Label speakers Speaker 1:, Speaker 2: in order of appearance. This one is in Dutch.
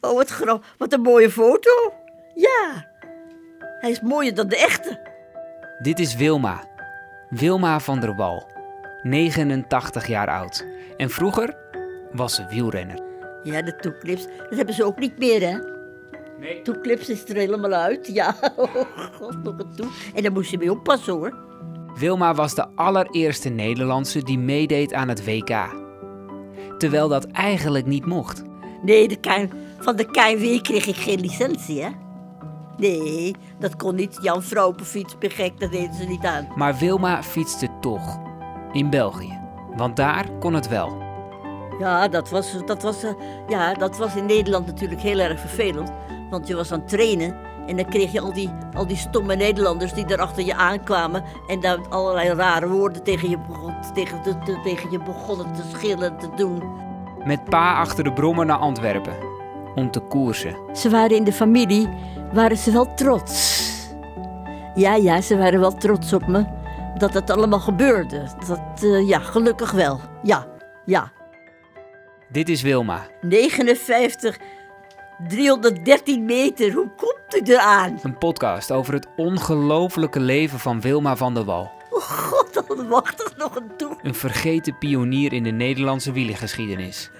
Speaker 1: Oh, wat grappig. Wat een mooie foto. Ja, hij is mooier dan de echte.
Speaker 2: Dit is Wilma. Wilma van der Wal. 89 jaar oud. En vroeger was ze wielrenner.
Speaker 1: Ja, de toeklips, dat hebben ze ook niet meer, hè?
Speaker 2: Nee.
Speaker 1: Toeklips is er helemaal uit. Ja, oh god, nog een toe. En daar moest je mee oppassen, hoor.
Speaker 2: Wilma was de allereerste Nederlandse die meedeed aan het WK. Terwijl dat eigenlijk niet mocht.
Speaker 1: Nee, de KN van de KNW kreeg ik geen licentie, hè? Nee, dat kon niet. Jan Vropenfiets, ben gek, dat deden ze niet aan.
Speaker 2: Maar Wilma fietste toch. In België. Want daar kon het wel.
Speaker 1: Ja, dat was, dat was, eh, ja, dat was in Nederland natuurlijk heel erg vervelend. Want je was aan het trainen en dan kreeg je al die, al die stomme Nederlanders die daar achter je aankwamen. En daar allerlei rare woorden tegen je, begon- tegen, te- te- tegen je begonnen te schillen, te doen.
Speaker 2: Met pa achter de brommer naar Antwerpen. Om te koersen.
Speaker 1: Ze waren in de familie, waren ze wel trots. Ja, ja, ze waren wel trots op me. Dat het allemaal gebeurde. Dat, eh, ja, gelukkig wel. Ja, ja.
Speaker 2: Dit is Wilma.
Speaker 1: 59, 313 meter. Hoe komt u eraan?
Speaker 2: Een podcast over het ongelofelijke leven van Wilma van der Wal.
Speaker 1: Oh god, dan wacht er nog een toe.
Speaker 2: Een vergeten pionier in de Nederlandse wielergeschiedenis.